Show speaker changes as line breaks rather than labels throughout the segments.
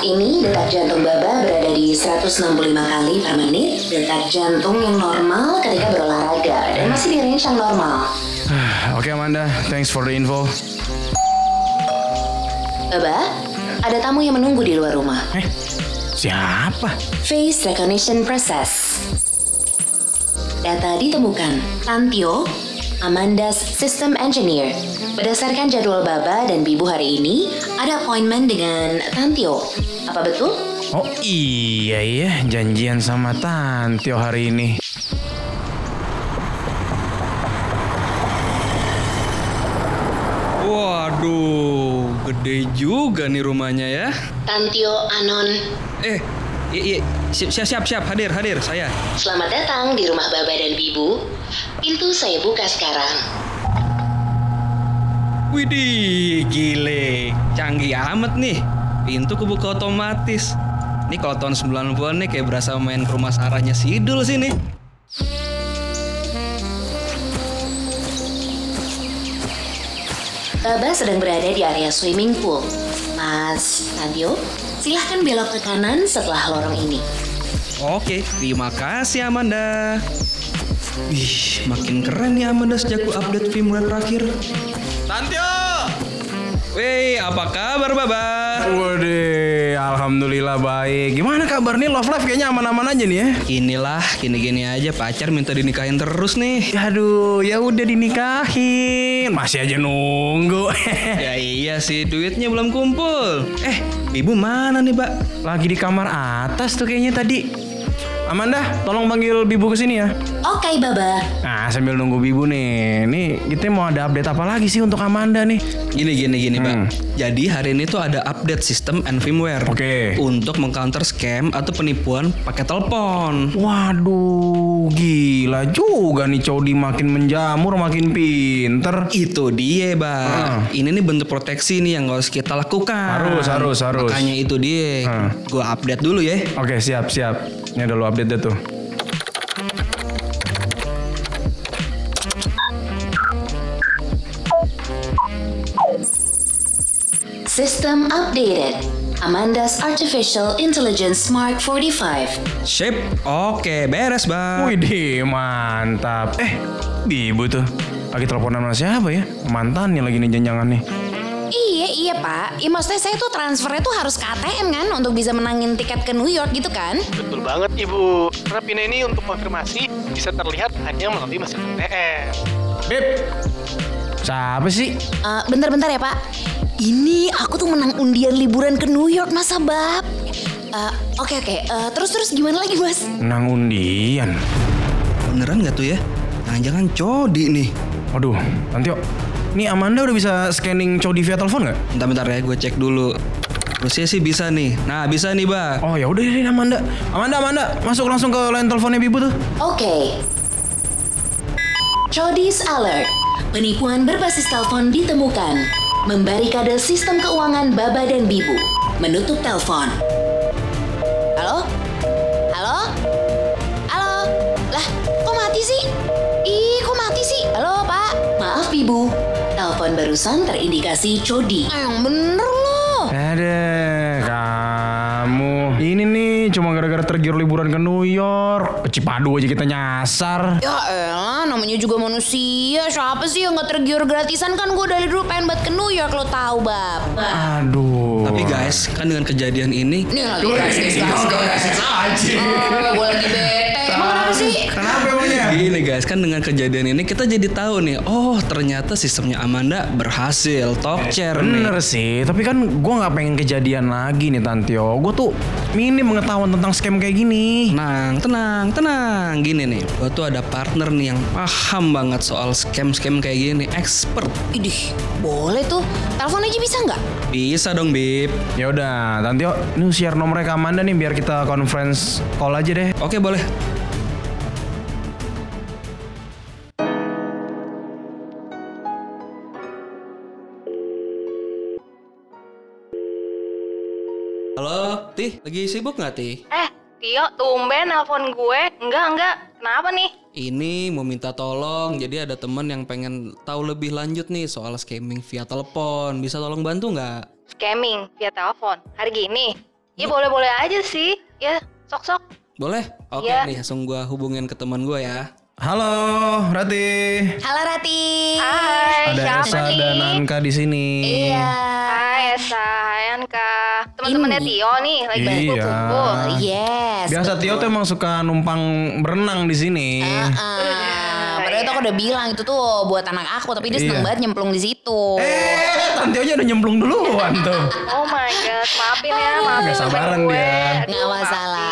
ini detak jantung Baba berada di 165 kali per menit, detak jantung yang normal ketika berolahraga dan masih di range yang normal.
Oke Amanda, thanks for the info.
Baba, ada tamu yang menunggu di luar rumah.
Eh, siapa?
Face recognition process. Data ditemukan. Tantio, Amanda's system engineer. Berdasarkan jadwal Baba dan Bibu hari ini, ada appointment dengan Tantio. Apa betul?
Oh iya iya, janjian sama Tantio hari ini.
Waduh, gede juga nih rumahnya ya.
Tantio Anon.
Eh, iya, iya, siap, siap, siap, siap, hadir, hadir, saya.
Selamat datang di rumah Baba dan Bibu. Pintu saya buka sekarang.
Widih, gile, canggih amat nih. Pintu kebuka otomatis. Ini kalau tahun 90-an nih kayak berasa main ke rumah sarahnya Sidul sini.
Baba sedang berada di area swimming pool. Mas Tantio, silahkan belok ke kanan setelah lorong ini.
Oke, terima kasih Amanda. Ih, makin keren nih Amanda sejak ku update film terakhir.
Tantio!
Wey, apa kabar Baba?
Waduh, alhamdulillah baik. Eh, Gimana kabar nih love life kayaknya aman-aman aja nih ya?
Inilah, gini-gini aja pacar minta dinikahin terus nih.
Aduh, ya udah dinikahin, masih aja nunggu.
Ya iya sih, duitnya belum kumpul. Eh, ibu mana nih, Mbak?
Lagi di kamar atas tuh kayaknya tadi. Amanda, tolong panggil Bibu ke sini ya.
Oke, Baba.
Nah, sambil nunggu Bibu nih. Nih, kita mau ada update apa lagi sih untuk Amanda nih?
Gini gini gini, Mbak.
Hmm.
Jadi hari ini tuh ada update sistem and firmware.
Oke.
Untuk mengcounter scam atau penipuan pakai telepon.
Waduh, gila juga nih Cody makin menjamur makin pinter.
Itu dia, Mbak.
Ah.
Ini nih bentuk proteksi nih yang harus kita lakukan.
Harus, harus, harus.
Makanya itu dia.
Ah.
Gua update dulu ya.
Oke, siap, siap. Ini ada lo update deh tuh.
System updated. Amanda's Artificial Intelligence Smart 45.
Sip. Oke, beres, Mbak.
Wih deh, mantap. Eh, Bibu tuh. Lagi teleponan sama siapa ya? Mantannya lagi nih jenjangan nih.
Iya, iya Pak. Ya maksudnya saya tuh transfernya tuh harus ke ATM kan untuk bisa menangin tiket ke New York gitu kan?
Betul banget Ibu. Karena PIN ini untuk konfirmasi bisa terlihat hanya melalui mesin ATM.
Beb. Siapa sih?
Eh, bentar-bentar ya Pak. Ini aku tuh menang undian liburan ke New York masa bab. Eh, Oke oke. Eh, terus-terus gimana lagi Mas?
Nang undian.
Beneran nggak tuh ya? Jangan-jangan Cody nih.
Aduh, nanti yuk. Nih Amanda udah bisa scanning Cody via telepon nggak?
Bentar-bentar ya, gue cek dulu. Harusnya sih bisa nih. Nah, bisa nih, Mbak.
Oh ya udah deh Amanda. Amanda, Amanda, masuk langsung ke line teleponnya Bibu tuh.
Oke. Cody's Alert. Penipuan berbasis telepon ditemukan. Membarikade sistem keuangan Baba dan Bibu. Menutup telepon.
Halo? Halo? Halo? Lah, kok mati sih? Ih, kok mati sih? Halo Pak?
Maaf Bibu, telepon barusan terindikasi Cody.
Ah, Yang bener loh.
Ada kamu. Ini nih cuma gara-gara tergiur liburan ke New York. Ke Cipadu aja kita nyasar.
Ya elah, namanya juga manusia. Siapa sih yang gak tergiur gratisan kan gue dari dulu pengen buat ke New York lo tahu bab.
Aduh.
Tapi guys, kan dengan kejadian ini
Ini lagi gas gas gas gas. Ah, Gue lagi bete. Emang kenapa sih?
Kenapa emangnya?
Gini guys, kan dengan kejadian ini kita jadi tahu nih, oh ternyata sistemnya Amanda berhasil, talk share nih.
Bener sih, tapi kan gua nggak pengen kejadian lagi nih Tantio. Gue tuh minim pengetahuan tentang scam kayak gini.
Tenang, tenang, tenang. Gini nih, gua tuh ada partner nih yang paham banget soal scam-scam kayak gini, expert.
Idih, boleh tuh. Telepon aja bisa nggak?
Bisa dong, Bib.
Ya udah, Tantio, ini share nomornya ke Amanda nih biar kita conference call aja deh.
Oke, boleh. Halo, Tih, lagi sibuk nggak, Tih?
Eh, Tio, tumben nelpon gue. Enggak, enggak. Kenapa nih?
Ini mau minta tolong, jadi ada temen yang pengen tahu lebih lanjut nih soal scamming via telepon. Bisa tolong bantu nggak?
Scamming via telepon. Hari gini.
Iya.
Ya boleh-boleh aja sih. Ya, sok-sok.
Boleh? Oke
Iya.
nih, langsung gua hubungin ke teman gua ya.
Halo, Rati.
Halo Rati.
Hai,
Ada
siapa
Esa
nih?
dan Anka di sini.
Iya.
Hai Esa, hai Anka. Teman-temannya
Ini.
Tio nih lagi
Iya.
kumpul-kumpul.
Yes.
Biasa Tio tuh emang suka numpang berenang di sini.
Ah, padahal itu aku udah bilang itu tuh buat anak aku, tapi dia seneng
Iya.
banget nyemplung di situ.
Eh, Tantionya udah nyemplung duluan tuh.
Oh my god, maafin ya,
Nggak
maafin temen
sabaran
gue.
dia.
Aduh,
Nggak
maafin.
masalah.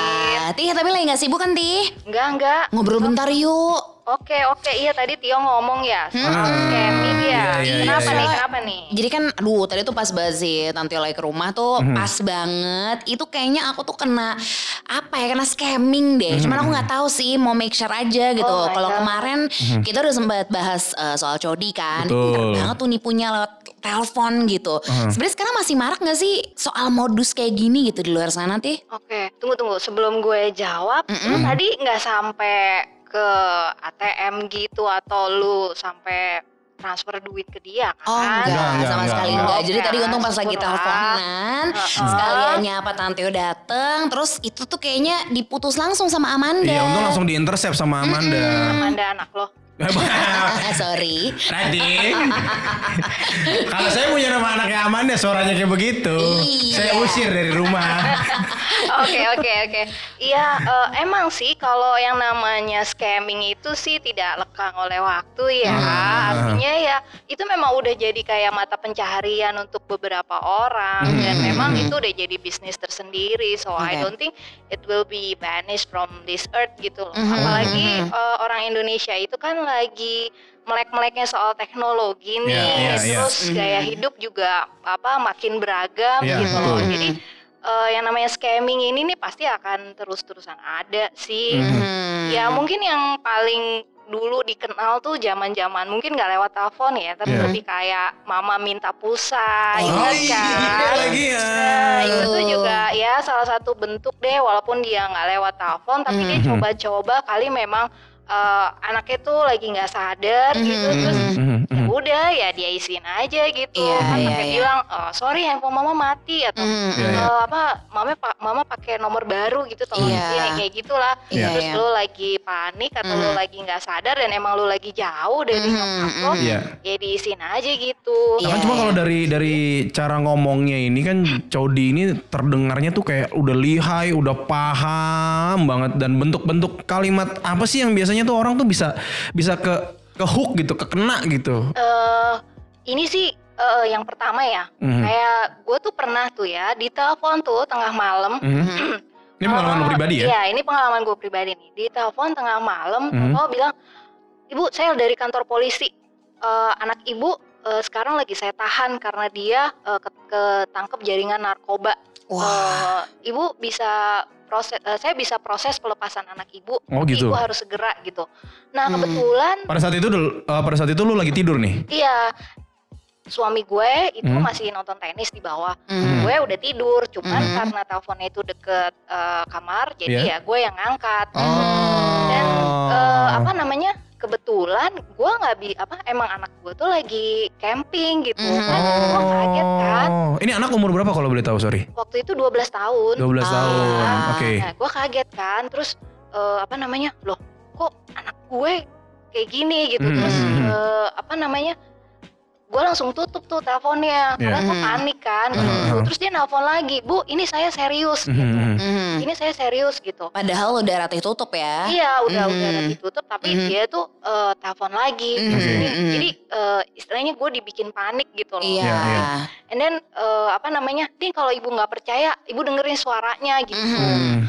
Tih, tapi lagi nggak sibuk kan Tih?
Enggak, enggak.
Ngobrol bentar yuk.
Oke, oke. Iya tadi Tio ngomong ya. Soal
Hmm.
Kemi dia.
Iya, iya,
Kenapa
iya,
nih?
iya.
Kenapa nih?
Jadi kan aduh tadi tuh pas banget sih Tante Yola ke rumah tuh
Mhm.
pas banget. Itu kayaknya aku tuh kena apa ya kena scamming
Mhm,
deh. Cuman aku nggak tahu sih mau make sure aja gitu.
Oh my
Kalau
God.
kemarin kita udah sempat bahas eh, soal Cody kan.
Mhm. Betul. Mhm.
Pintar banget tuh nipunya lewat telepon gitu. Sebenarnya sekarang masih marak nggak sih soal modus kayak gini gitu di luar sana tih?
Oke, tunggu tunggu. Sebelum gue jawab, lu tadi nggak sampai ke ATM gitu atau lu sampai transfer duit ke dia kan?
Oh enggak,
Enggak, enggak,
sama
enggak,
sekali
enggak.
enggak. Jadi tadi untung pas lagi
Syukurlah.
teleponan,
Heeh.
sekaliannya apa Tante Yola dateng, terus itu tuh kayaknya diputus langsung sama Amanda.
Iya, untung langsung diintersep sama Amanda.
Amanda anak lo.
Sorry.
Rati. Kalau saya punya nama anaknya Amanda ya suaranya kayak begitu.
Iya.
Saya usir dari rumah.
Oke oke oke. Iya eh, emang sih kalau yang namanya scamming itu sih tidak lekang oleh waktu ya.
Ah.
Artinya ya itu memang udah jadi kayak mata pencaharian untuk beberapa orang dan
Hmm.
memang itu udah jadi bisnis tersendiri. So
Oke.
I don't think it will be banished from this earth gitu loh.
Hmm,
Mhm,
Apalagi
mhm.
eh, orang Indonesia itu kan lagi melek-meleknya soal teknologi nih,
Iya, iya, iya.
terus gaya
Mhm.
hidup juga apa makin beragam
Iya,
gitu loh.
betul.
Jadi eh, yang namanya scamming ini nih pasti akan terus-terusan ada sih.
Mhm.
Hmm.
Ya mungkin yang paling dulu dikenal tuh zaman-zaman mungkin nggak lewat telepon ya, tapi
Iya.
lebih kayak mama minta pulsa,
Oh,
ingat
iya,
kan?
lagi ya.
Nah, itu tuh
Aduh.
juga ya salah satu bentuk deh, walaupun dia nggak lewat telepon, tapi dia
Mhm.
coba-coba kali memang eh, anaknya tuh lagi nggak sadar gitu,
Mhm.
terus
Mhm,
ya
mhm.
udah ya dia isiin aja gitu
Iya,
kan
iya,
pakai
iya.
bilang "Oh, sorry handphone mama mati atau
Hmm,
Iya,
"Eh,
iya.
apa mama pa- mama pakai nomor baru gitu tolong
Iya.
isiin," kayak gitulah
Iya,
terus
iya.
lu lagi panik atau lu
Mhm.
lagi nggak sadar dan emang lu lagi jauh dari
Mhm,
nyokap lo
mhm.
Iya.
ya diisiin aja gitu
Nah, kan
Iya,
cuma
iya.
kalau dari dari cara ngomongnya ini kan Cody ini terdengarnya tuh kayak udah lihai, udah paham banget dan bentuk-bentuk kalimat apa sih yang biasanya tuh orang tuh bisa bisa ke ke hook gitu, ke kena gitu.
eh ini sih eh, yang pertama ya
Mhm.
kayak gue tuh pernah tuh ya ditelepon tuh tengah malam
Mhm. Ini pengalaman lu
Oh,
pribadi ya?
Iya, ini pengalaman gue pribadi nih. Di telepon tengah malam,
Hmm.
bapak bilang, "Ibu, saya dari kantor polisi. Eh, anak ibu eh, sekarang lagi saya tahan karena dia eh, ke- ketangkep jaringan narkoba.
Wah.
Eh, ibu bisa proses, eh, saya bisa proses pelepasan anak ibu.
Oh,
tapi
gitu.
Ibu harus segera gitu. Nah
Hmm.
kebetulan,
Pada saat itu dul- eh, pada saat itu lu lagi tidur nih.
iya." Suami gue itu
Hmm.
masih nonton tenis di bawah
Hmm.
gue udah tidur cuman
Mhm.
karena teleponnya itu deket eh, kamar jadi
Iya.
ya gue yang ngangkat
Oh.
dan eh, apa namanya kebetulan gue nggak bi apa emang anak gue tuh lagi camping gitu
Mhm.
Kan gue kaget kan
Oh. Ini anak umur berapa kalau boleh tahu, sorry?
waktu itu 12 tahun
12
Ah.
tahun. Oke.
nah gue kaget kan terus eh, apa namanya loh kok anak gue kayak gini gitu
Hmm,
Mhm.
terus
Mhm.
eh, apa namanya gue langsung tutup tuh teleponnya karena gue
Mhm.
panik kan
Mhm.
terus dia nelfon lagi bu ini saya serius
Mhm,
gitu.
mhm.
Hmm.
ini saya serius gitu.
Padahal udah ratih tutup ya.
Iya, udah udah
Mhm.
ditutup tapi
Mhm.
dia tuh eh, telepon lagi.
Mhm,
Jadi-
mhm.
Jadi eh, istilahnya gue dibikin panik gitu loh.
Iya.
Iya, iya.
And then eh, apa namanya? Ding kalau ibu nggak percaya, ibu dengerin suaranya gitu.
Mhm.
Mm-hmm.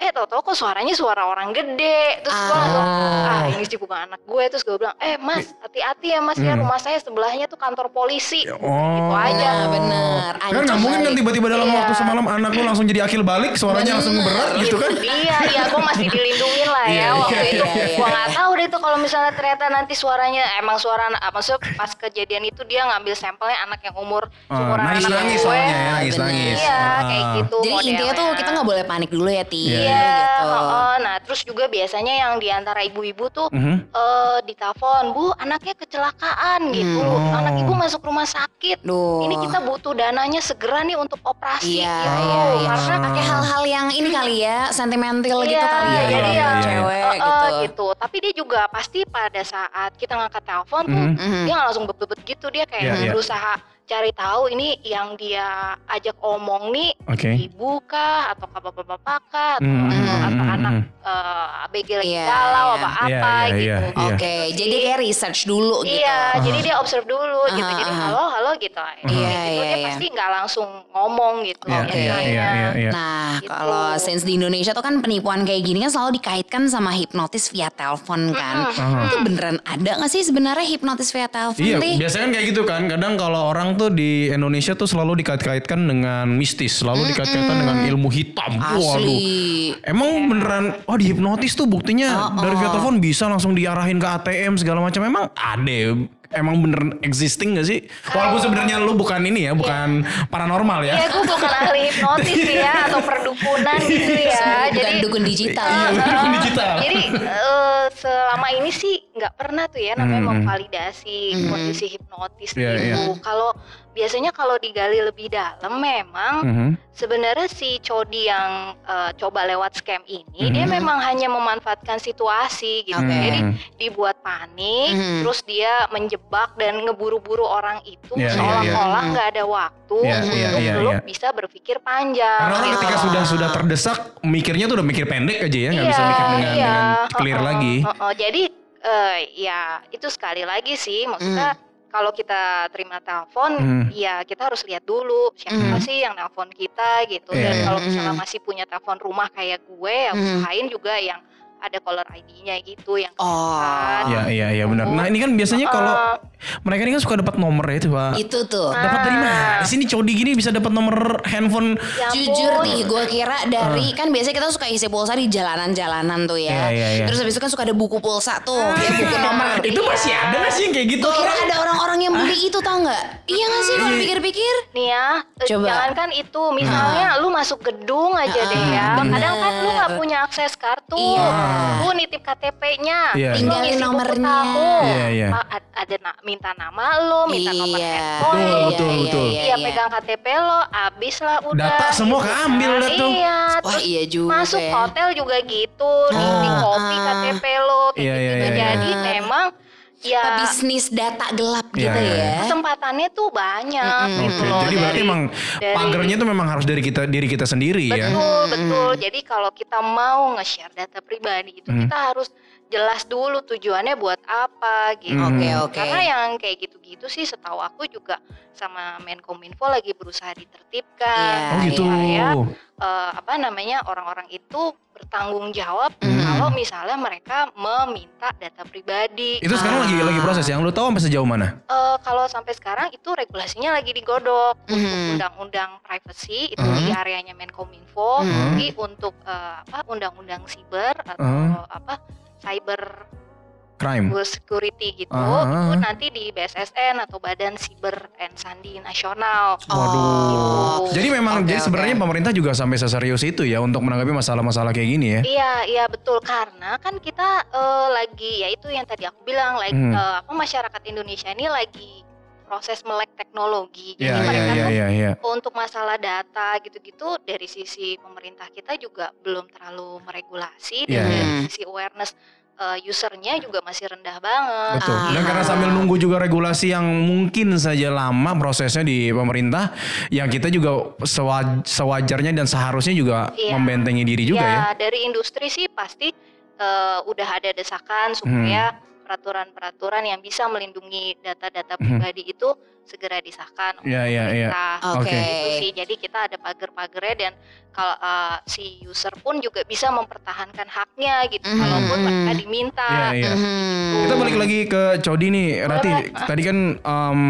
Eh tau-tau kok suaranya suara orang gede. Terus gue langsung ah ini sih bukan anak gue terus gue bilang eh
Iya.
mas hati-hati ya mas ya
Mhm.
rumah saya sebelahnya tuh kantor polisi
Oh.
gitu aja
Nah, bener.
Kan nggak
Ancur
mungkin kan
balik.
tiba-tiba dalam
Iya.
waktu semalam anak lu langsung jadi akil balik, suaranya langsung berat gitu kan?
Iya, iya, gue masih dilindungin lah ya
Iya,
waktu
iya,
itu.
iya, iya.
Gue nggak tahu deh itu kalau misalnya ternyata nanti suaranya emang suara anak, apa sih pas kejadian itu dia ngambil sampelnya anak yang umur
Ah,
seumuran anak
Nangis-nangis
gue.
soalnya ya, nangis-nangis.
Iya,
Ah.
kayak gitu.
Jadi intinya tuh
modelnya.
kita nggak boleh panik dulu ya Ti.
Iya,
Iya,
gitu.
heeh. nah terus juga biasanya yang diantara ibu-ibu tuh
Mhm.
eh ditelepon bu anaknya kecelakaan gitu
Hmm.
anak ibu masuk rumah sakit
Duh.
ini kita butuh dananya segera nih untuk
Oh.
operasi
Iya,
gitu
iya, iya.
karena
Pakai hal-hal yang ini kali ya, sentimental gitu
Iya,
kali ya,
iya,
kalau
iya.
cewek
eh, eh,
gitu.
gitu. tapi dia juga pasti pada saat kita ngangkat telepon tuh
Mhm.
Mhm.
dia nggak langsung bebet gitu dia kayak
Iya, iya.
berusaha cari tahu ini yang dia ajak omong nih
Oke.
ibu kah atau bapak-bapak kah atau,
Mhm,
mhm,
atau
mhm,
anak
mhm.
eh, ABG lagi
Iya,
galau
iya.
apa
Iya,
apa
iya,
gitu.
iya. Ah.
Oke, jadi kayak research dulu gitu.
Iya, jadi dia observe dulu gitu.
Aha,
Jadi
aha.
halo, halo gitu.
Iya,
Gitu, gitu.
iya,
Dia
iya.
pasti nggak langsung ngomong gitu.
Iya,
Oke.
iya, iya, iya, iya.
Nah,
Gitu.
kalau since di Indonesia tuh kan penipuan kayak gini kan selalu dikaitkan sama hipnotis via telepon kan.
Aha.
Itu beneran ada gak sih sebenarnya hipnotis via telepon
Iya,
Tih?
biasanya kan kayak gitu kan. Kadang kalau orang tuh di Indonesia tuh selalu dikait-kaitkan dengan mistis, selalu dikait-kaitkan dengan ilmu hitam.
Asli. Iya.
Emang beneran oh dihipnotis tuh buktinya
Oh,
dari via
oh.
telepon bisa langsung diarahin ke ATM segala macam. Emang ada ya? Emang beneran existing gak sih? Walaupun sebenarnya lu bukan ini ya, bukan paranormal
Ya,
Iya,
ya.
gue bukan ahli hipnotis sih ya atau perdukunan gitu ya.
Bukan
Jadi
dukun digital.
Iya, bukan digital.
Jadi eh, selama ini sih nggak pernah tuh ya namanya
Hmm.
memvalidasi
Hmm.
kondisi hipnotis
Iya,
gitu.
iya.
Kalau biasanya kalau digali lebih dalam memang
Mhm.
sebenarnya si Cody yang eh, coba lewat scam ini
Mhm.
dia memang hanya memanfaatkan situasi gitu.
Oke.
Jadi dibuat panik,
Mhm.
terus dia menjebak dan ngeburu-buru orang itu
Iya, iya,
seolah-olah
iya.
nggak ada waktu
Iya,
untuk
iya, iya,
lu
iya.
bisa berpikir panjang.
Karena orang
gitu.
ketika sudah sudah terdesak, mikirnya tuh udah mikir pendek aja ya, nggak bisa mikir dengan,
iya.
dengan clear
Heeh,
lagi.
heeh. jadi eh, ya itu sekali lagi sih maksudnya
Hmm.
kalau kita terima telepon
Hmm.
ya kita harus lihat dulu siapa
Hmm.
sih yang telepon kita gitu.
Iya,
Dan
iya.
kalau misalnya
Hmm.
masih punya telepon rumah kayak gue ya
Hmm.
usahain juga yang ada caller ID-nya gitu yang
Oh,
Iya, iya, iya benar. Nah ini kan biasanya kalau mereka ini kan suka dapat nomor ya itu pak.
itu tuh.
Dapat dari mana? Sini Cody gini bisa dapat nomor handphone.
Ya ampun.
Jujur nih, gue kira dari kan biasanya kita suka isi pulsa di jalanan-jalanan tuh ya.
Hmm. Iya, iya, iya.
Terus habis itu kan suka ada buku pulsa tuh,
Ah.
ya buku nomor.
Itu masih ada nggak sih yang kayak gitu?
Gue kira Iya, ada orang-orang yang beli itu tau nggak? Iya nggak sih
Hmm.
kalau pikir-pikir?
Nih ya, eh,
Coba.
jangankan itu, misalnya lu masuk gedung aja deh ya.
Ah, bener.
Kadang kan lu nggak punya akses kartu,
Iya.
lu nitip KTP-nya,
Iya,
lu
Tinggalin
ngisi buku
nomornya.
tamu.
Iya, iya.
Ah, ad- ada na- minta nama lu, minta nomor
Iya.
handphone,
Betul,
iya,
betul,
iya,
betul.
iya, iya.
pegang KTP lo, abis lah udah.
Data semua
gitu kan.
keambil dah tuh.
Iya,
Wah
terus
iya juga.
masuk
ya.
hotel juga gitu, di kopi
ah.
KTP lo, kayak
Iya, iya,
gitu.
iya, iya.
Jadi memang ya
Bisnis data gelap
Iya,
gitu
iya,
ya.
kesempatannya tuh banyak
Mm-mm.
gitu
Oke,
loh.
jadi berarti
dari-
emang
dari-
pagernya tuh memang harus dari kita diri kita sendiri ya.
Betul,
Hmm.
betul. Jadi kalau kita mau nge-share data pribadi itu
Hmm.
kita harus jelas dulu tujuannya buat apa gitu.
Hmm.
Oke oke.
Karena yang kayak gitu-gitu sih setahu aku juga sama Menkominfo lagi berusaha
Iya.
ditertibkan.
Oh gitu.
Supaya, eh, apa namanya orang-orang itu bertanggung jawab
Hmm.
kalau misalnya mereka meminta data pribadi.
Itu sekarang lagi lagi proses yang lu tahu sampai sejauh mana?
Eh, kalau sampai sekarang itu regulasinya lagi digodok untuk
Hmm.
Mhm.
undang-undang privacy itu
Mhm.
di areanya Menkominfo,
Hmm.
Mhm.
tapi untuk eh, apa undang-undang siber atau
Mhm.
apa cyber
Crime.
security gitu
Hmm. Ah.
itu nanti di BSSN atau Badan Siber and Sandi Nasional.
Waduh.
Gitu.
Jadi memang
Oh. Oke,
jadi sebenarnya
oke.
pemerintah juga sampai seserius itu ya untuk menanggapi masalah-masalah kayak gini ya.
Iya, iya betul karena kan kita eh, lagi ya itu yang tadi aku bilang lagi
Hmm.
eh, apa masyarakat Indonesia ini lagi proses melek teknologi.
Iya,
Jadi
iya,
mereka
iya,
tuh
iya, iya.
untuk masalah data gitu-gitu dari sisi pemerintah kita juga belum terlalu meregulasi
Iya,
dan dari
iya.
sisi awareness eh, usernya juga masih rendah banget.
Betul.
Ah.
Dan karena sambil nunggu juga regulasi yang mungkin saja lama prosesnya di pemerintah, yang kita juga sewa- sewajarnya dan seharusnya juga
Iya.
membentengi diri juga ya.
dari industri sih pasti eh, udah ada desakan supaya
Hmm.
peraturan-peraturan yang bisa melindungi data-data pribadi itu segera disahkan oleh
Iya, iya, iya.
pemerintah.
Oke.
Oke.
Gitu sih. Jadi kita ada pagar-pagarnya dan kalau eh, si user pun juga bisa mempertahankan haknya gitu
Mhm.
walaupun mereka diminta.
Iya, iya.
Mhm.
Kita balik lagi ke Cody nih, Rati. Tadi kan em,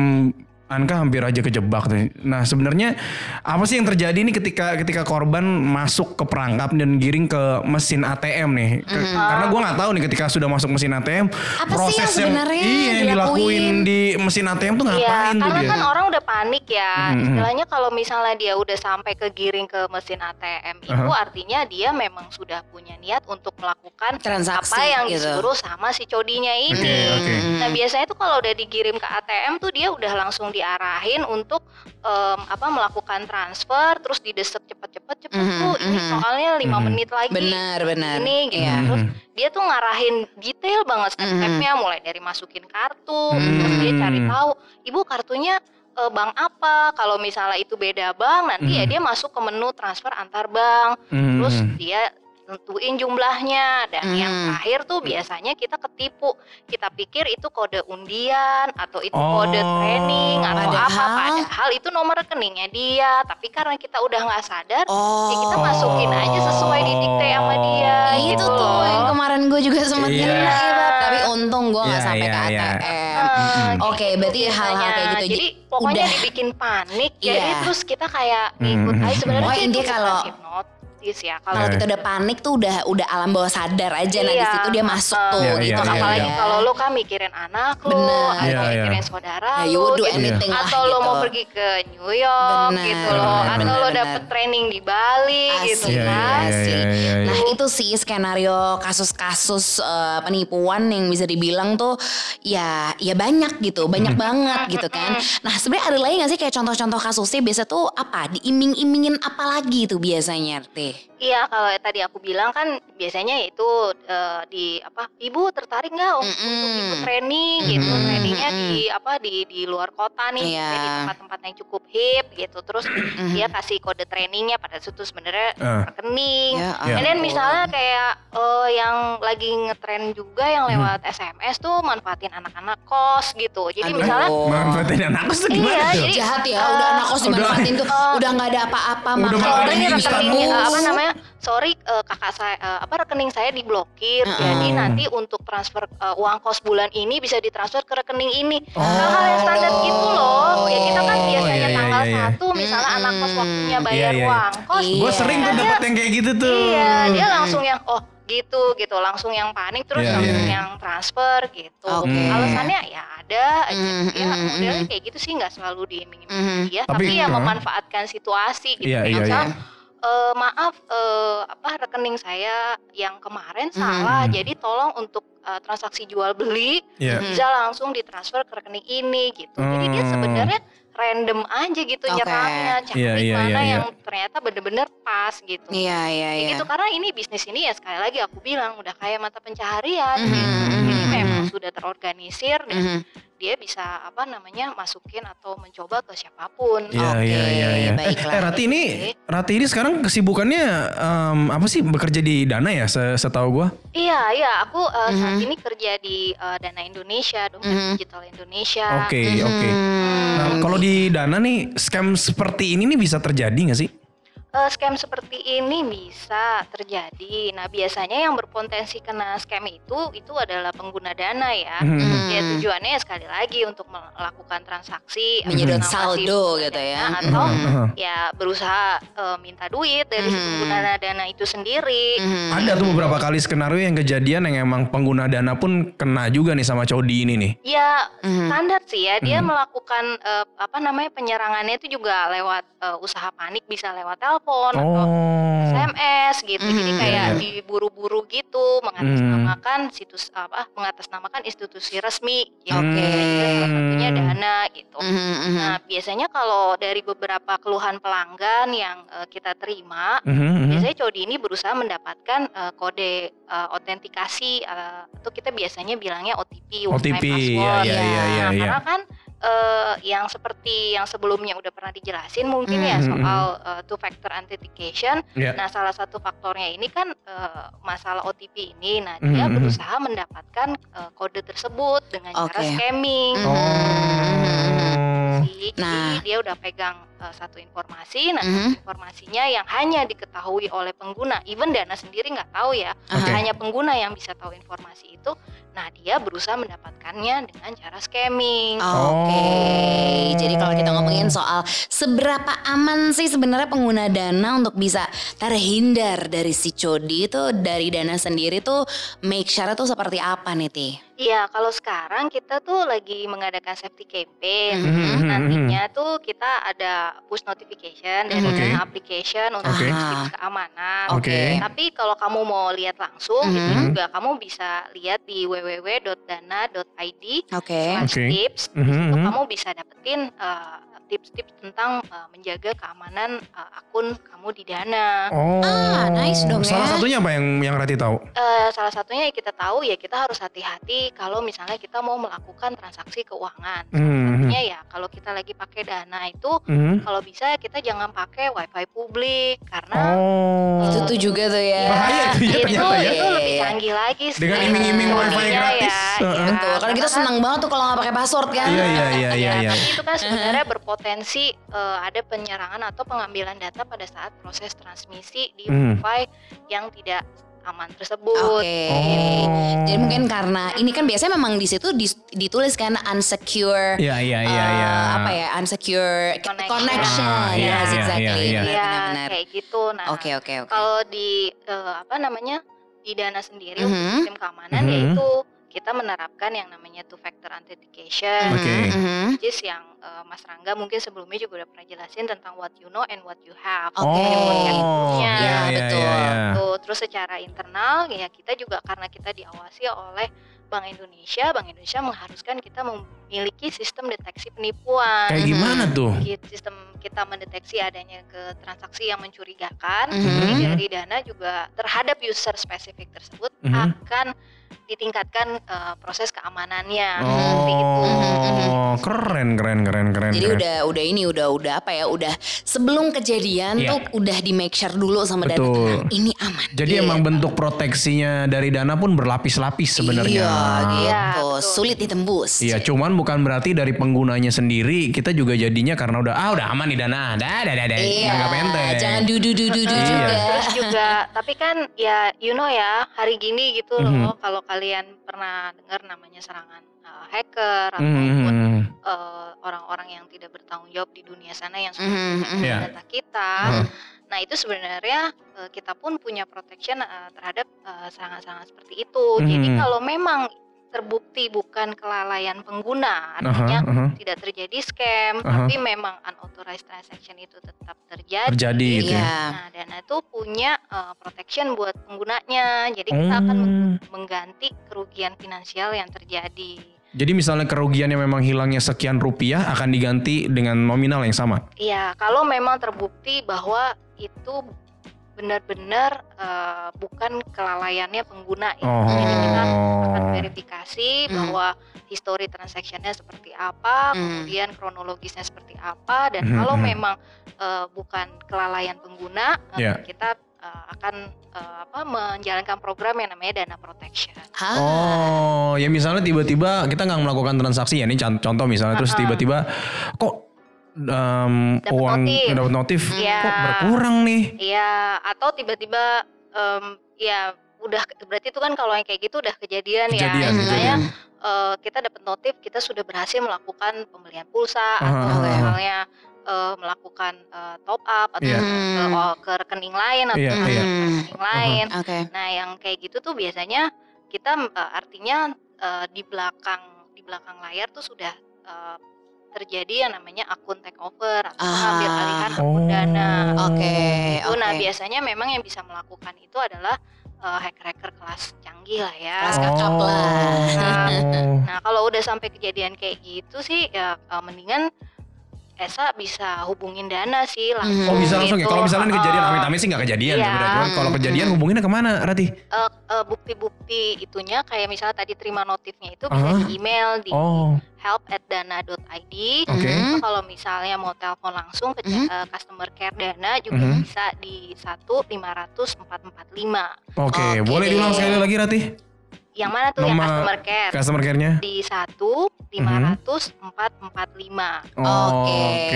Anka hampir aja kejebak nih. Nah sebenarnya apa sih yang terjadi nih ketika ketika korban masuk ke perangkap dan giring ke mesin ATM nih? Ke-
Mhm.
Karena gua nggak tahu nih ketika sudah masuk mesin ATM
Apa sih yang sebenarnya
iya, yang dilakuin
dilakuin?
di mesin ATM tuh
Iya,
ngapain tuh
karena
dia?
kan orang udah panik ya.
Mhm.
Istilahnya kalau misalnya dia udah sampai ke giring ke mesin ATM itu
Aha.
artinya dia memang sudah punya niat untuk melakukan
Transaksi
apa yang
gitu. Hmm.
disuruh sama si codinya ini.
Oke oke.
Nah biasanya tuh kalau udah dikirim ke ATM tuh dia udah langsung diarahin untuk em, apa melakukan transfer, terus didesek cepet-cepet cepet
Mhm,
tuh ini
mhm.
soalnya lima
Mhm.
menit lagi.
Benar, benar.
Ini gitu.
Iya.
Terus dia tuh ngarahin detail banget
Mm-hmm.
step-stepnya, mulai dari masukin kartu, terus dia cari
Mhm.
tahu, ibu kartunya eh, bank apa? Kalau misalnya itu beda bank, nanti ya
Mm-hmm.
Mhm.
dia masuk ke menu transfer antar bank
Mhm.
terus dia tentuin jumlahnya dan
Hmm.
yang terakhir tuh biasanya kita ketipu kita pikir itu kode undian atau itu kode
Oh.
training atau apa
Padahal-
padahal itu nomor rekeningnya dia tapi karena kita udah nggak sadar ya kita
Oh.
masukin aja sesuai didikte sama dia
Nah,
Oh.
itu
gitu
tuh
loh.
yang kemarin gue juga sempat
Iya.
kena tapi untung gue nggak
Iya,
sampai ke
iya,
ATM.
Eh,
Oke,
gitu
berarti hal-hal kayak
biasanya.
gitu
Jadi pokoknya
udah.
dibikin panik,
Iya.
jadi terus kita kayak ngikut
Hmm.
aja sebenarnya. gitu
Oh,
sih
intinya
itu
kalau-
bukan hipnotis ya kalau
Kalau
Iya.
kita udah panik tuh udah udah alam bawah sadar aja nah di
Iya.
situ dia masuk tuh
Iya,
gitu
iya, iya,
kali
apalagi
ya.
kalau lo kan mikirin anak lo,
Bener.
atau
Iya, iya.
mikirin saudara
Ya, you
lo,
would do
gitu.
anything lah
atau lo
gitu.
mau pergi ke New York
Bener,
gitu loh,
bener,
atau lo
bener.
dapet training di Bali gitu
Asli,
Iya, iya,
kan.
iya,
asli.
iya, iya, iya.
Nah itu sih skenario kasus-kasus eh, penipuan yang bisa dibilang tuh ya ya banyak gitu, banyak banget gitu kan. Nah sebenarnya ada lagi gak sih kayak contoh-contoh kasusnya biasa tuh apa? Diiming-imingin apa lagi tuh biasanya RT?
Iya kalau tadi aku bilang kan biasanya itu eh, di apa ibu tertarik nggak oh, untuk
Mm-mm.
ikut training gitu
Mm-mm.
trainingnya di apa di di luar kota nih
Iya.
kayak di tempat-tempat yang cukup hip gitu terus dia kasih kode trainingnya pada situ sebenarnya
Eh.
rekening
Ya
Ya.
And then
ampun.
misalnya kayak eh, yang lagi ngetren juga yang lewat SMS tuh manfaatin anak-anak kos gitu. Jadi
Aduh.
misalnya
Manfaatin anak kos tuh gimana
Oh. Iya,
tuh?
jadi-
jahat ya udah anak kos dimanfaatin tuh udah nggak ada apa-apa
eh, Udah
makan
makan
udah
ini
ini rekeningnya
instan
eh, apa
mulu.
namanya? Sorry eh, kakak saya eh, apa rekening saya diblokir.
Mm-mm.
Jadi nanti untuk transfer eh, uang kos bulan ini bisa ditransfer ke rekening ini.
Oh.
Hal-hal yang standar gitu loh. Ya kita kan
Oh,
biasanya
iya, iya,
tanggal
iya.
satu misalnya anak kos waktunya
Mm-mm.
bayar
Iya, iya, iya.
uang kos.
Iya.
Gue sering tuh
Karena-
dapet yang kayak gitu tuh.
Iya, dia langsung yang oh gitu gitu, langsung yang panik terus
Iya,
langsung
iya. Hmm.
yang transfer gitu.
Oke.
Alasannya ya ada aja
Mm,
ya
mm,
modelnya
mm.
kayak gitu sih nggak selalu diiming
Mhm.
ya,
Tapi,
tapi, ya
uh,
memanfaatkan situasi gitu.
iya, iya,
Misal,
iya.
eh, maaf eh, apa rekening saya yang kemarin
Hmm,
salah, jadi tolong untuk eh, transaksi jual beli
hmm. Iya.
bisa langsung ditransfer ke rekening ini gitu. Jadi dia
Hmm.
sebenarnya random aja gitu
Oke.
nyerangnya, cari
Iya, iya,
mana
iya, iya.
yang ternyata bener-bener pas gitu.
Iya iya
Kayak
iya.
gitu karena ini bisnis ini ya sekali lagi aku bilang udah kayak mata pencaharian
Mhm,
gitu. Jadi
mhm,
memang
mhm.
sudah terorganisir dan
Mhm.
dia bisa apa namanya masukin atau mencoba ke siapapun. Oh,
Iya
Oke,
iya iya. iya. Eh,
baiklah.
eh, Rati ini Rati ini sekarang kesibukannya em, apa sih bekerja di Dana ya se- setahu gua?
Iya, iya, aku eh, saat ini kerja di eh, Dana Indonesia, Dompet
Mhm.
Digital Indonesia.
Oke Iya, oke.
Hmm.
Nah, kalau di Dana nih scam seperti ini nih bisa terjadi nggak sih?
Mm-hmm.
Eh, scam seperti ini bisa terjadi. Nah, biasanya yang berpotensi kena scam itu itu adalah pengguna dana ya.
Mhm.
Ya tujuannya ya sekali lagi untuk melakukan transaksi atau
Menyedot
mengawasi
saldo
pengguna
gitu ya.
dana Nah, Atau
Mhm.
ya berusaha eh, minta duit dari si
Hmm.
pengguna dana itu sendiri.
Mhm.
Ada tuh beberapa kali skenario yang kejadian yang emang pengguna Dana pun kena juga nih sama Cody ini nih.
Ya
Mhm.
standar sih ya dia melakukan eh, apa namanya penyerangannya itu juga lewat eh, usaha panik bisa lewat telepon atau
Oh.
SMS gitu. Jadi
Mhm.
kayak
Iya, Hmm.
diburu-buru gitu mengatasnamakan situs apa mengatasnamakan institusi resmi gitu.
Hmm.
Oke.
Jadi, Salah satunya Dana gitu.
Mhm, mhm.
Nah, biasanya kalau dari beberapa keluhan pelanggan yang eh, kita terima,
Mhm, mhm.
Iya
biasanya Codi ini berusaha mendapatkan eh, kode eh, autentikasi eh, itu kita biasanya bilangnya OTP, one time
OTP,
password.
iya, iya, iya,
Nah,
iya.
karena kan eh, yang seperti yang sebelumnya udah pernah dijelasin mungkin ya
Mhm.
soal two factor authentication.
Iya.
Nah, salah satu faktornya ini kan eh, masalah OTP ini. Nah, dia
Mhm.
berusaha mendapatkan eh, kode tersebut dengan cara
Oke.
scamming
Mhm.
Oh.
sih. Jadi
Nah.
dia udah pegang eh, satu informasi, nah
Mhm.
informasinya yang hanya diketahui oleh pengguna, even dana sendiri nggak tahu ya,
Oke.
hanya pengguna yang bisa tahu informasi itu. Nah dia berusaha mendapatkannya dengan cara scamming.
Oke,
Oh.
jadi kalau kita ngomongin soal seberapa aman sih sebenarnya pengguna dana untuk bisa terhindar dari si codi itu dari dana sendiri tuh make sure tuh seperti apa nih Ti?
Iya, kalau sekarang kita tuh lagi mengadakan safety campaign.
Hmm.
Mhm.
Nantinya tuh kita ada push notification dari
Mhm.
dana application untuk
Oke.
Ah.
tips keamanan.
Oh. Oke.
Tapi kalau kamu mau lihat langsung, itu
Mhm.
juga kamu bisa lihat di www.dana.id
Oke.
slash
Oke.
tips. Itu
Mhm.
kamu bisa dapetin eh, tips-tips tentang eh, menjaga keamanan eh, akun kamu di Dana.
Oh.
Ah, nice dong
Salah
ya.
satunya apa yang yang Rati tahu?
Eh, salah satunya yang kita tahu ya kita harus hati-hati kalau misalnya kita mau melakukan transaksi keuangan.
Mhm.
Artinya ya kalau kita lagi pakai dana itu
Mhm.
kalau bisa kita jangan pakai wifi publik karena
Oh.
Nah. Itu tuh juga tuh ya.
Bahaya tuh ya
itu,
ternyata ya.
itu lebih
Iya, iya.
canggih lagi sih.
Dengan iming-iming
Nah,
wifi
jadinya
gratis.
Ya,
Heeh.
iya.
Tuh, kan kita
Karena
senang banget tuh kalau nggak pakai password kan.
Iya iya iya iya iya.
Tapi itu kan sebenarnya berpotensi eh, ada penyerangan atau pengambilan data pada saat proses transmisi di
Hmm.
wifi yang tidak aman tersebut.
Oke.
Oh.
Jadi mungkin karena ini kan biasanya memang di situ dis- ditulis kan unsecure
Iya iya
eh,
iya iya.
apa ya unsecure
Connection.
connection.
Ah, iya,
Yes,
iya,
exactly.
iya,
Iya,
Benar-benar.
kayak gitu. Nah,
Oke oke oke.
kalau di eh, apa namanya di dana sendiri untuk
Mhm.
sistem keamanan
Mhm.
yaitu kita menerapkan yang namanya two factor authentication
Oke.
Mhm.
which is yang eh, Mas Rangga mungkin sebelumnya juga udah pernah jelasin tentang what you know and what you have
Oke.
Oh. Iya
Iya,
iya
betul.
iya. iya.
Tuh, gitu. terus secara internal ya kita juga karena kita diawasi oleh Bank Indonesia Bank Indonesia mengharuskan kita memiliki sistem deteksi penipuan
Mm-hmm.
Kayak gimana tuh?
Ki- sistem kita mendeteksi adanya ke transaksi yang mencurigakan
Mhm.
jadi dari dana juga terhadap user spesifik tersebut
Mhm.
akan ditingkatkan eh, proses keamanannya
Mm-hmm,
gitu. seperti itu.
Oh, keren keren keren keren.
gitu. Jadi
keren.
udah udah ini udah udah apa ya udah sebelum kejadian
Iya.
tuh udah di make sure dulu sama data
Betul.
ini aman.
Jadi
Iya.
emang bentuk proteksinya dari dana pun berlapis-lapis sebenarnya.
Iya,
Iya,
gitu.
betul.
Sulit ditembus.
Iya, cuman bukan berarti dari penggunanya sendiri kita juga jadinya karena udah ah udah aman nih dana, dah dah dah dah,
Iya.
Eh, nggak enteng.
Jangan dudu dudu dudu
Iya.
juga.
Terus juga, tapi kan ya you know ya hari gini gitu
Mhm.
loh kalau kalian pernah dengar namanya serangan eh, hacker ataupun
Hmm,
eh, orang-orang yang tidak bertanggung jawab di dunia sana yang sudah
Mhm, mhm.
Iya.
data kita.
Heeh.
Nah itu sebenarnya eh, kita pun punya protection eh, terhadap eh, serangan-serangan seperti itu. Jadi
Mhm.
kalau memang terbukti bukan kelalaian pengguna,
aha,
artinya
aha.
tidak terjadi scam,
Aha.
tapi memang unauthorized transaction itu tetap terjadi.
terjadi gitu. ya.
Iya.
Nah dana itu punya eh, protection buat penggunanya. Jadi kita akan meng-
Hmm.
mengganti kerugian finansial yang terjadi.
Jadi misalnya kerugiannya memang hilangnya sekian rupiah akan diganti dengan nominal yang sama.
Iya, kalau memang terbukti bahwa itu benar-benar eh, bukan kelalaiannya pengguna ya.
Oh.
Jadi kita akan verifikasi
Hmm.
bahwa histori transaksinya seperti apa,
Hmm.
kemudian kronologisnya seperti apa, dan
Hmm,
kalau
hmm.
memang eh, bukan kelalaian pengguna, eh,
Iya.
kita eh, akan eh, apa, menjalankan program yang namanya dana protection.
Ah,
Oh, ya misalnya tiba-tiba kita nggak melakukan transaksi ya ini con- contoh misalnya terus
Uh-uh.
tiba-tiba kok em,
Dapet
uang
notif.
dapat notif
Hmm.
Iya.
kok berkurang nih.
Iya, atau tiba-tiba em, ya udah berarti itu kan kalau yang kayak gitu udah kejadian,
Hmm,
Kejadian,
ya.
iya.
Misalnya,
kejadian.
eh, kita dapat notif kita sudah berhasil melakukan pembelian pulsa
Ah, ah,
atau
ah.
misalnya eh, melakukan eh, top up atau
Iya.
ke,
Hmm.
oh, ke rekening lain atau
Iya,
ke
iya.
rekening lain.
Oke.
Nah, yang kayak gitu tuh biasanya kita eh, artinya eh, di belakang di belakang layar tuh sudah eh, terjadi yang namanya akun takeover atau
Ah.
pengambil alihan akun dana.
Oke.
Oh. Itu, Nah,
Oke.
biasanya memang yang bisa melakukan itu adalah eh, hacker-hacker kelas canggih lah ya.
Kelas kakap lah.
Oh.
Nah, kalau udah sampai kejadian kayak gitu sih ya eh, mendingan Esa bisa hubungin Dana sih
Hmm.
langsung.
Oh bisa langsung ya.
gitu.
Kalau misalnya kejadian
Eh,
amit-amit sih nggak kejadian
Iya.
sebenarnya. Cuman kalau kejadian hubunginnya kemana Rati?
eh, eh, bukti-bukti itunya kayak misalnya tadi terima notifnya itu bisa
Aha.
di email di
Ah. Oh, Hmm.
help@dana.id.
oke.
Mhm.
Kalau misalnya mau telepon langsung ke
Mhm.
eh, customer care Dana juga
Mhm.
bisa di 1 500 445.
Oke,
Oke.
boleh diulang sekali lagi Rati?
Ya, Yang mana tuh yang
Nomor- Hmm.
customer care?
Customer care-nya?
Di 1 500 445.
Oke.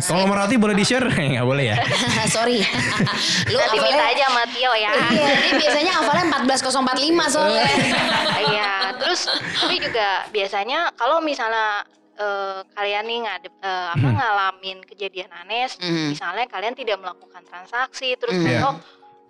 Kalau Merati boleh di-share? Nggak boleh ya?
Sorry. Lu
Nanti minta
hafalnya
aja sama Tio ya.
Iya, dia biasanya hafalnya 14045 soalnya.
Eh,
Iya, terus tapi juga biasanya kalau misalnya eh, kalian nih ngadep eh, apa
Hmm.
ngalamin kejadian aneh,
Hmm.
misalnya kalian tidak melakukan transaksi, terus
Hmm.
besok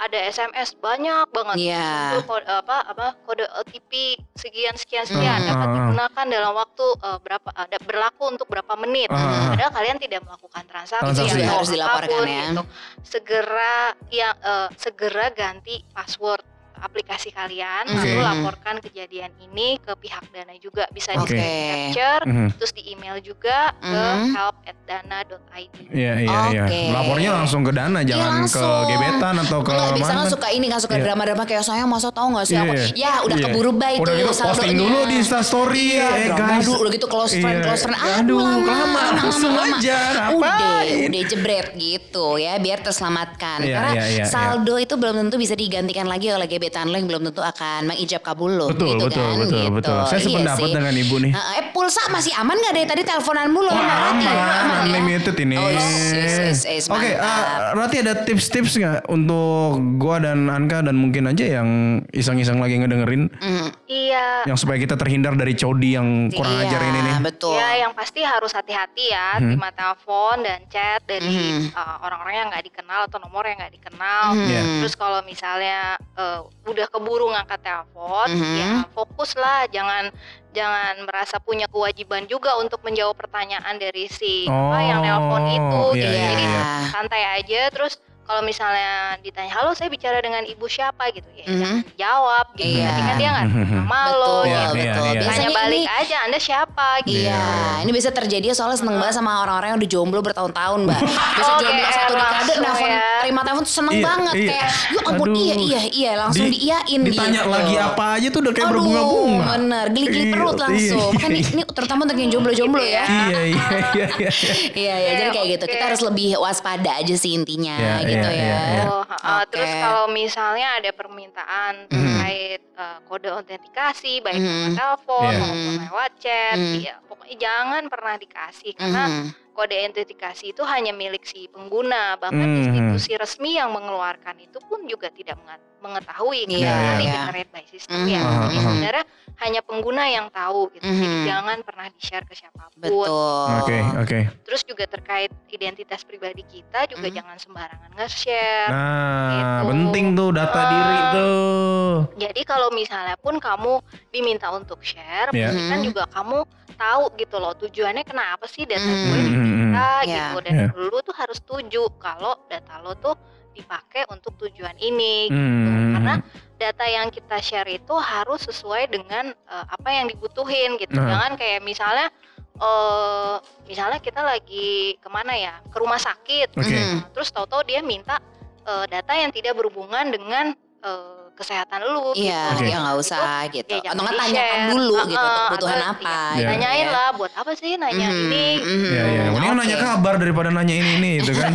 ada SMS banyak banget
Iya.
itu kode apa apa kode OTP sekian sekian sekian
Hmm.
dapat
Ah, ah.
digunakan dalam waktu eh, berapa ada berlaku untuk berapa menit.
Ah, ah, ah.
Padahal kalian tidak melakukan transaksi,
Transaksi.
atau
Juga harus dilaporkan
apapun
ya.
gitu. Segera yang eh, segera ganti password aplikasi kalian lalu
Oke. Mm-hmm.
laporkan kejadian ini ke pihak Dana juga bisa
Oke. Mm-hmm.
di screen capture
Mhm.
terus di email juga ke
Mhm.
help@dana.id.
Iya, iya, iya.
Oke.
Lapornya langsung ke Dana,
Iya,
jangan ke
langsung.
gebetan atau ke
Enggak, biasanya
mana.
kan suka ini kan suka
oh, Iya.
drama-drama kayak saya masa tahu nggak sih
Iya,
aku
iya.
ya udah
Iya.
keburu baik
Udah
tuh
gitu posting dulu di Insta story eh
Drama
guys.
dulu, iya. udah gitu close friend,
Iya.
close friend. Ah,
Aduh,
lama,
lama,
lama,
langsung
lama.
aja.
Udah,
Ngapain?
udah jebret gitu ya biar terselamatkan.
Iya,
Karena
iya, iya,
saldo itu belum tentu bisa digantikan lagi oleh gebetan lo yang belum tentu akan mengijab kabul lo.
Betul,
gitu
betul,
kan,
betul,
gitu.
betul. Saya
Iya
sependapat
sih.
dengan ibu nih.
Heeh, eh pulsa masih aman gak dari tadi teleponan mulu?
Wah,
Mbak Rati?
aman,
ya?
unlimited ini.
Oh, yes, yes, yes, yes,
Oke, eh,
mantap.
Rati ada tips-tips nggak untuk gua dan Anka dan mungkin aja yang iseng-iseng lagi ngedengerin
Mm,
Iya.
yang supaya kita terhindar dari codi yang kurang
iya,
ajar ini nih.
Betul.
Ya, yang pasti harus hati-hati ya
Mhm.
terima telepon dan chat dari
Mhm.
Mm-hmm.
uh, orang-orang yang nggak dikenal atau nomor yang nggak dikenal.
Mhm.
Iya.
Terus kalau misalnya uh, udah keburu ngangkat telepon,
Mm-hmm.
Mhm.
ya fokuslah, jangan jangan merasa punya kewajiban juga untuk menjawab pertanyaan dari si apa
Oh,
yang telepon itu.
iya,
gitu.
iya,
Jadi
iya.
santai aja. Terus kalau misalnya ditanya, halo saya bicara dengan ibu siapa gitu, ya
Mhm.
jangan jawab gitu.
Iya.
Nanti kan dia nggak tahu nama lo,
Betul,
Mm-hmm. Iya, iya,
gitu.
betul.
iya.
Tanya
Biasanya
balik
ini
aja, anda siapa gitu.
Iya, ini bisa terjadi soalnya seneng banget sama orang-orang yang udah jomblo bertahun-tahun, Mbak. Bisa
Oh,
jomblo
GR
satu dekade,
langsung
nelfon,
ya.
terima telepon tuh seneng
Iya,
banget.
iya.
Kayak, ya ampun
Aduh.
iya, iya, iya, langsung
Di-
diiyain
ditanya
gitu.
lagi apa aja tuh udah kayak
Aduh,
berbunga-bunga.
bener, geli-geli
Iya,
perut
iya,
langsung. Kan
iya,
Makanya ini terutama untuk yang jomblo-jomblo ya.
Iya, iya, iya, iya.
Iya, iya, jadi kayak gitu.
oke.
Kita harus lebih waspada aja sih intinya
Iya,
gitu
iya, iya,
ya.
iya.
Oh, ha-ha.
Oke. Mm-hmm.
Terus kalau misalnya ada permintaan terkait eh, kode autentikasi baik
Mhm.
lewat telepon
Iya.
maupun lewat chat,
Mhm.
ya, pokoknya jangan pernah dikasih karena
Mhm.
kode autentikasi itu hanya milik si pengguna. Bahkan
Mhm.
institusi resmi yang mengeluarkan itu pun juga tidak menga- mengetahui
Iya,
karena
iya.
ini generate by system
Mhm.
ya. Jadi
Aha, aha.
sebenarnya hanya pengguna yang tahu gitu. Jadi
Mhm.
jangan pernah di-share ke siapapun.
Betul.
Oke, oke.
Terus juga terkait identitas pribadi kita juga
Mhm.
jangan sembarangan nge-share.
Nah,
Gitu.
penting tuh data diri tuh.
Jadi kalau misalnya pun kamu diminta untuk share,
Iya.
pastikan
Mhm.
juga kamu tahu gitu loh tujuannya kenapa sih data gue
Mhm. Iya.
diminta gitu dan
Iya.
lu tuh harus tuju kalau data lo tuh dipakai untuk tujuan ini.
Hmm.
Gitu. Karena data yang kita share itu harus sesuai dengan eh, apa yang dibutuhin gitu.
Nah.
Jangan kayak misalnya eh misalnya kita lagi kemana ya ke rumah sakit,
Oke.
Nah, terus tahu-tahu dia minta eh, data yang tidak berhubungan dengan eh, kesehatan lu. gitu.
Iya,
Oke.
ya nggak
Itu
usah gitu.
Ya, jangan
Atau nggak
di-share.
tanyakan dulu
Heeh,
gitu kebutuhan
atau
apa.
ya,
gitu ya.
Tanyain lah buat apa sih nanya
Mhm,
ini.
mhm.
Iya, iya. Mending nanya
Oke.
kabar daripada nanya ini ini itu kan.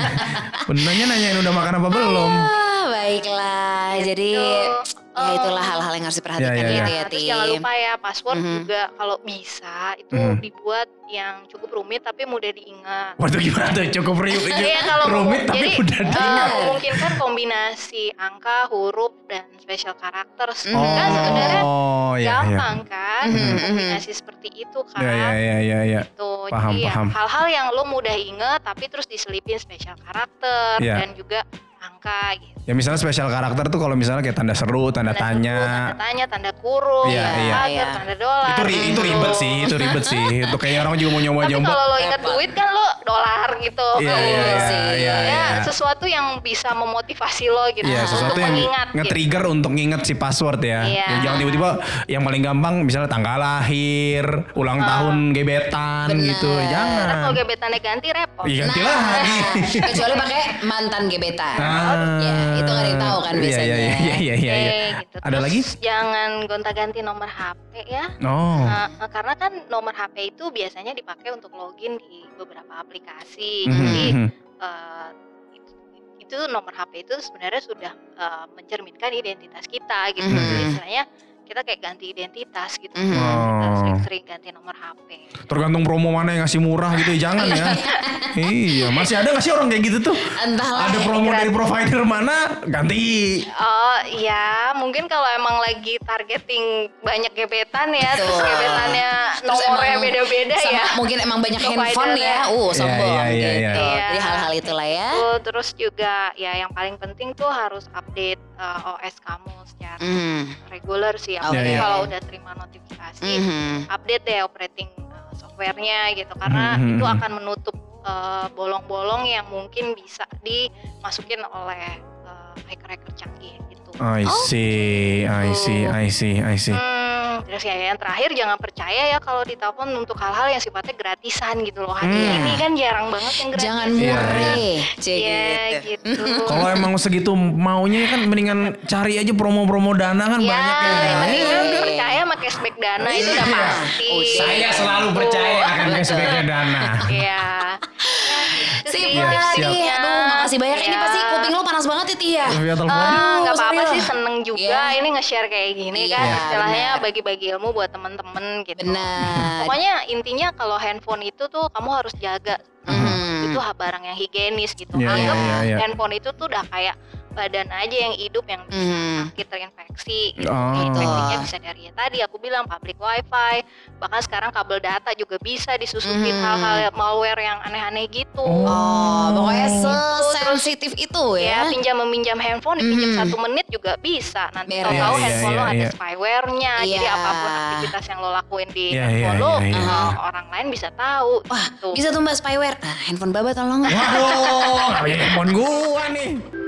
Benarnya nanyain udah makan apa belum.
Ah, baiklah. Jadi
Gitu.
ya itulah hal-hal yang harus diperhatikan
Ya, ya,
gitu
Nah,
ya,
terus
Tim.
jangan lupa ya password
Mhm.
juga kalau bisa itu
Mhm.
dibuat yang cukup rumit tapi mudah diingat.
Waduh gimana tuh cukup riuh ini.
Iya, kalau mau-
rumit tapi
jadi,
udah
eh,
diingat.
memungkinkan kombinasi angka, huruf dan spesial karakter.
Mm-hmm.
Oh,
Kan sebenarnya
Oh, iya, iya.
gampang kan
Mhm,
Mm-hmm.
mhm.
kombinasi seperti itu kan.
Iya, iya, iya, iya, iya.
Tuh,
Paham,
jadi ya,
paham.
hal-hal yang lo mudah inget tapi terus diselipin spesial karakter
Iya.
dan juga angka gitu.
Ya misalnya spesial karakter tuh kalau misalnya kayak tanda seru, tanda
Tanda
tanya.
seru, tanda tanya, tanda kurung,
Iya,
tanda
iya.
pagar,
Iya.
tanda dolar.
Itu, ri- itu
gitu.
ribet sih, itu ribet sih. Itu kayak orang juga mau nyoba
Tapi
nyoba.
kalau lo inget duit kan lo dolar gitu.
Iya,
Kalau
iya,
lo
iya,
sih,
iya,
ya,
iya.
Sesuatu yang bisa memotivasi lo gitu.
Iya,
untuk
sesuatu yang
mengingat gitu.
nge-trigger untuk nginget si password ya.
Iya.
Ya, Jangan tiba-tiba yang paling gampang misalnya tanggal lahir, ulang
Oh.
tahun gebetan
Bener.
gitu.
Karena
Jangan.
Eh, kalau gebetannya ganti repot. Nah,
Iya, ganti lagi.
kecuali pakai mantan gebetan. Ya, itu nggak ada yang tahu kan
Ah. Iya,
biasanya.
Iya, iya, iya, iya, iya.
Oke, gitu.
Ada
Terus
lagi?
Jangan gonta-ganti nomor HP ya.
Ah,
Oh.
Nah, eh, karena kan nomor HP itu biasanya dipakai untuk login di beberapa
gitu
aplikasi.
Mhm,
Jadi
mhm.
eh, itu, itu nomor HP itu sebenarnya sudah eh, mencerminkan identitas kita gitu.
Mhm.
Jadi istilahnya kita kayak ganti identitas gitu.
Mhm.
Kita
Oh.
sering-sering ganti nomor HP.
Tergantung promo mana yang ngasih murah gitu ya jangan ya. iya, masih ada gak sih orang kayak gitu tuh?
Entahlah.
Ada promo dari provider mana? Ganti.
Oh iya, mungkin kalau emang lagi targeting banyak gebetan ya, terus
Betul.
gebetannya
Terus
nomornya
emang
beda-beda
sama-
ya.
Mungkin emang banyak
Provider
handphone
ya.
ya. Uh, sombong
Iya, iya, iya,
gitu.
iya.
Jadi hal-hal itulah ya.
Tuh, terus juga ya yang paling penting tuh harus update uh, OS kamu secara
Mhm.
reguler sih.
Oke.
Apalagi kalau udah terima notifikasi,
Mhm.
update deh operating uh, softwarenya gitu, karena
Mhm.
itu akan menutup uh, bolong-bolong yang mungkin bisa dimasukin oleh uh, hacker-hacker canggih gitu.
I
Oh,
see, I see, I see, I see.
Hmm, terus ya yang terakhir jangan percaya ya kalau ditelepon untuk hal-hal yang sifatnya gratisan gitu loh. Hari
Hmm.
ini kan jarang banget yang gratis.
Jangan
Iya,
mureh. Cek
Iya
gitu.
gitu.
Kalau emang segitu maunya kan mendingan cari aja promo-promo dana kan banyak
ya,
ya.
yang penting kan
Iya.
percaya sama cashback dana itu udah
Iya.
pasti.
Oh,
Saya selalu percaya akan cashbacknya dana.
Iya. gitu
Sip
Iya,
lagi.
siap.
Aduh, makasih banyak. Ini
Iya.
pasti kuping lo panas banget ya, Tia.
Via telepon.
Ah, nggak apa-apa
sorry
sih
lah.
seneng juga
Iya.
ini nge-share kayak gini
Iya,
kan istilahnya
benar.
bagi-bagi ilmu buat temen-temen gitu
Benar.
pokoknya intinya kalau handphone itu tuh kamu harus jaga
Mhm.
itu ha- barang yang higienis gitu
Iya,
anggap
iya, iya.
handphone itu tuh udah kayak badan aja yang hidup yang
Mhm.
sakit terinfeksi gitu.
Oh.
Infeksinya bisa dari yang tadi aku bilang public wifi bahkan sekarang kabel data juga bisa
Hmm.
disusupin
Mhm.
hal-hal malware yang aneh-aneh gitu
Oh, pokoknya sesensitif itu
ya
ya.
pinjam meminjam handphone
Mhm.
dipinjam satu menit juga bisa nanti
Beres.
kalau tahu
Hmm. Iya,
handphone
iya,
lo ada
iya.
spyware-nya jadi
Iya.
apapun aktivitas yang lo lakuin di
Iya, iya,
handphone lo
iya, iya.
eh, orang lain bisa tahu
Wah,
gitu.
Iya,
bisa tuh mbak spyware. Nah, handphone baba tolong.
Waduh, nggak punya handphone gua nih.